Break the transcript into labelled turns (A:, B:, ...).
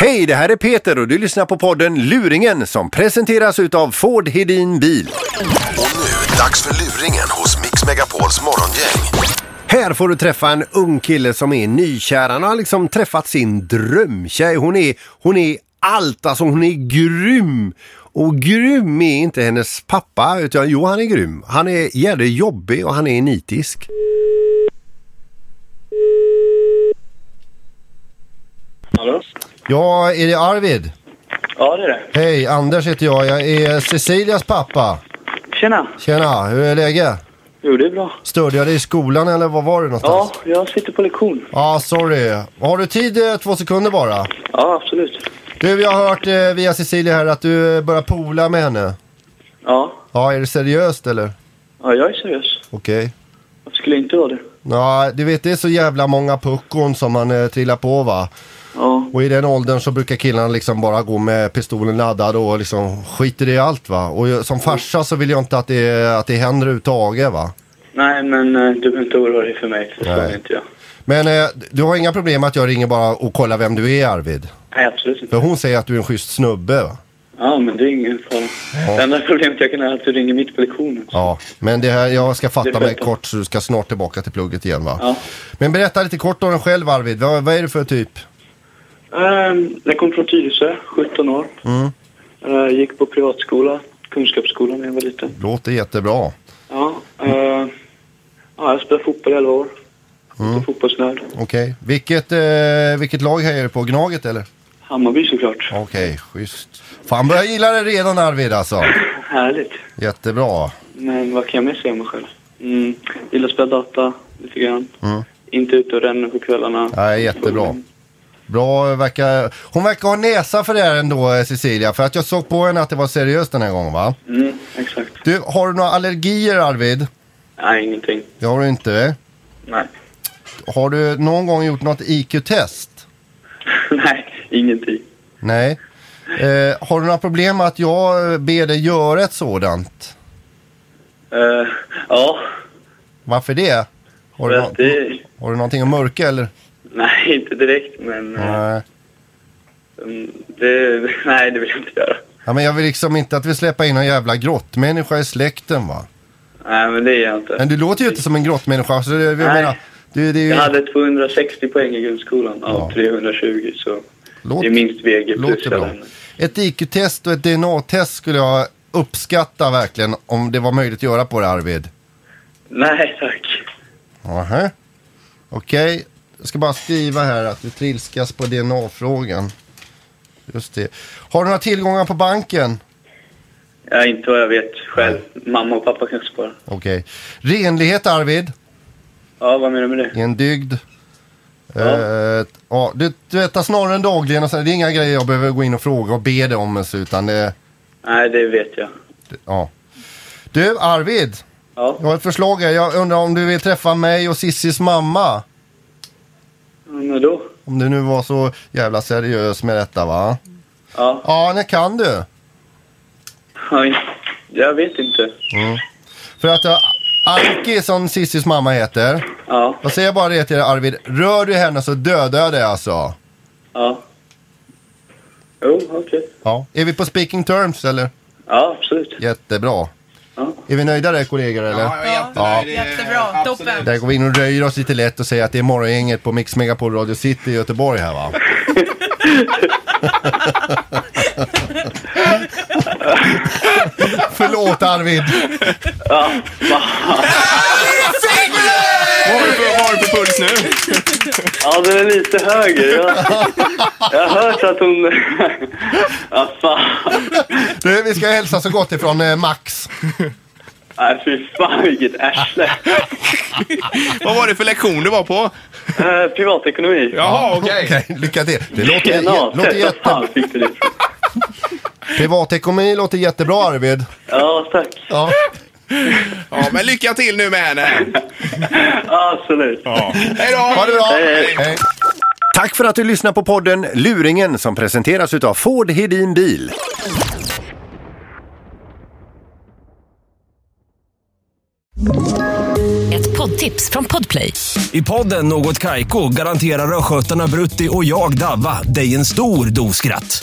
A: Hej, det här är Peter och du lyssnar på podden Luringen som presenteras utav Ford Hedin Bil.
B: Och nu, dags för luringen hos Mix Megapols morgongäng.
A: Här får du träffa en ung kille som är nykär. Han har liksom träffat sin drömtjej. Hon är, hon är allt, alltså hon är grym. Och grym är inte hennes pappa, utan jo han är grym. Han är jävligt jobbig och han är nitisk.
C: Hallå?
D: Ja, är det Arvid?
C: Ja, det är det.
D: Hej, Anders heter jag. Jag är Cecilias pappa.
C: Tjena.
D: Tjena, hur är läget?
C: Jo, det är bra.
D: Störde jag dig i skolan eller var var du
C: Ja,
D: någonstans?
C: jag sitter på lektion.
D: Ja, sorry. Har du tid eh, två sekunder bara?
C: Ja, absolut.
D: Du, jag har hört eh, via Cecilia här att du eh, börjar pola med henne.
C: Ja,
D: Ja, är det seriöst eller?
C: ja jag är seriös.
D: Okej.
C: Varför skulle jag inte vara det?
D: Ja, du vet det är så jävla många puckon som man eh, trillar på va?
C: Ja,
D: Och i den åldern så brukar killarna liksom bara gå med pistolen laddad och liksom skiter i allt va? Och jag- som farsa så vill jag inte att det, att det händer överhuvudtaget va?
C: nej, men eh, du behöver inte oroa dig för mig. Det
D: Nej.
C: ska inte jag.
D: Men eh, du har inga problem att jag ringer bara och kollar vem du är Arvid?
C: Nej, absolut
D: För
C: inte.
D: hon säger att du är en schysst snubbe va?
C: Ja, men det är ingen fara. Det enda problemet jag kan är att du ringer mitt på lektionen.
D: Ja, men det här, jag ska fatta
C: Det
D: mig
C: sköter.
D: kort så du ska snart tillbaka till plugget igen va?
C: Ja.
D: Men berätta lite kort om dig själv Arvid. Vad, vad är du för typ?
C: Ehm, jag kom från Tyresö, 17 år. Eh, gick på privatskola, Kunskapsskolan när jag var liten.
D: Låter jättebra.
C: Ja, eh, ja jag spelade fotboll i 11 år. Mm. Fotbollsnörd.
D: Okej. Vilket, eh, vilket lag hejar du på? Gnaget eller?
C: Hammarby såklart.
D: Okej, schysst. Fan börjar jag gilla det redan Arvid alltså.
C: Härligt.
D: Jättebra.
C: Men vad kan jag mer säga om mig själv? Mm, gillar att spela data lite grann.
D: Mm.
C: Inte ute och ränner på kvällarna.
D: Nej, jättebra. Bra, verkar... Hon verkar ha näsa för det här ändå eh, Cecilia. För att jag såg på henne att det var seriöst den här gången va?
C: Mm, exakt.
D: Du, har du några allergier Arvid?
C: Nej, ingenting.
D: Det har du inte.
C: Nej.
D: Har du någon gång gjort något IQ-test?
C: Nej, ingenting.
D: Nej. Eh, har du några problem med att jag eh, ber dig göra ett sådant?
C: Eh, ja,
D: Varför det? Har
C: för
D: du,
C: att
D: nå-
C: det...
D: har du någonting att mörka eller?
C: Nej, inte direkt, men... eh,
D: Nej.
C: mm, Det, nej, det vill jag inte göra.
D: Ja, men jag vill liksom inte att vi släpper in någon jävla grottmänniska i släkten va?
C: Nej, men det är jag
D: Men
C: inte.
D: du låter ju inte som en grottmänniska. Så det, jag
C: Nej.
D: menar, du, det är ju,
C: Jag hade 260 poäng i grundskolan av 320, så
D: Låt-
C: det är typ, minst VG plus
D: låter
C: jag
D: bra.
C: lämnar.
D: Ett IQ-test och ett DNA-test skulle jag uppskatta verkligen om det var möjligt att göra på det Arvid.
C: Nej, tack.
D: Aha. Okej, jag ska bara skriva här att du trilskas på DNA-frågan. Just det. Har du några tillgångar på banken?
C: Ja, inte vad jag vet själv. Mamma och pappa kanske bara.
D: Okej. Renlighet Arvid,
C: Ja, vad menar du med det?
D: i en dygd. Ja.
C: Ja.
D: ja, du tvättar snarare dagligen och sen, det är inga grejer jag behöver gå in och fråga och be dig om ens utan det,
C: Nej, det vet jag.
D: ja. Du Arvid, jag
C: Ja,
D: har ett förslag här. Jag undrar om du vill träffa mig och Sissis mamma?
C: men då?
D: Om du nu var så jävla seriös med detta va?
C: Ja,
D: Ja, när kan du?
C: Oj, jag vet inte.
D: För att jag, Anki som Sissis mamma heter.
C: Ja,
D: Jag säger bara det till dig Arvid. Rör du henne så dödar jag dig alltså.
C: ja. Jo, okej.
D: Ja. Är vi på speaking terms eller?
C: Ja, absolut.
D: Jättebra.
C: Ja.
D: Är vi nöjda där kollegor eller?
E: Ja, jag är jättenöjd.
F: Ja,
E: Det är-
F: jättebra.
E: absolut.
F: Toppen.
D: Där går vi in och röjer oss lite lätt och säger att det är morgongänget på Mix Megapol Radio City i Göteborg här va? Förlåt Arvid!
E: Vad har du för- vad har du för puls nu?
C: Ja, den är lite höger. Jag, jag har hört att hon... Ja, fan.
D: Du, vi ska hälsa så gott ifrån eh, Max.
C: Nej, fy fan vilket arsle.
E: Vad var det för lektion du var på?
C: Eh, privatekonomi.
E: Jaha, okej.
D: Okej, lycka till. Det låter,
C: Tjena,
D: låter
C: vad
D: jätte...
C: fan fick du det ifrån?
D: Privatekonomi låter jättebra Arvid.
C: Ja, tack.
D: Ja.
E: Ja, men lycka till nu med henne.
C: Absolut.
E: Ja. Hej då!
D: Ha det bra!
C: hej.
D: Hej.
A: Tack för att du lyssnar på podden Luringen som presenteras utav Ford Hedin Bil.
G: Ett
F: Ett tips från Podplay.
G: I podden Något Kaiko garanterar östgötarna Brutti och jag, Davva, dig en stor dos skratt.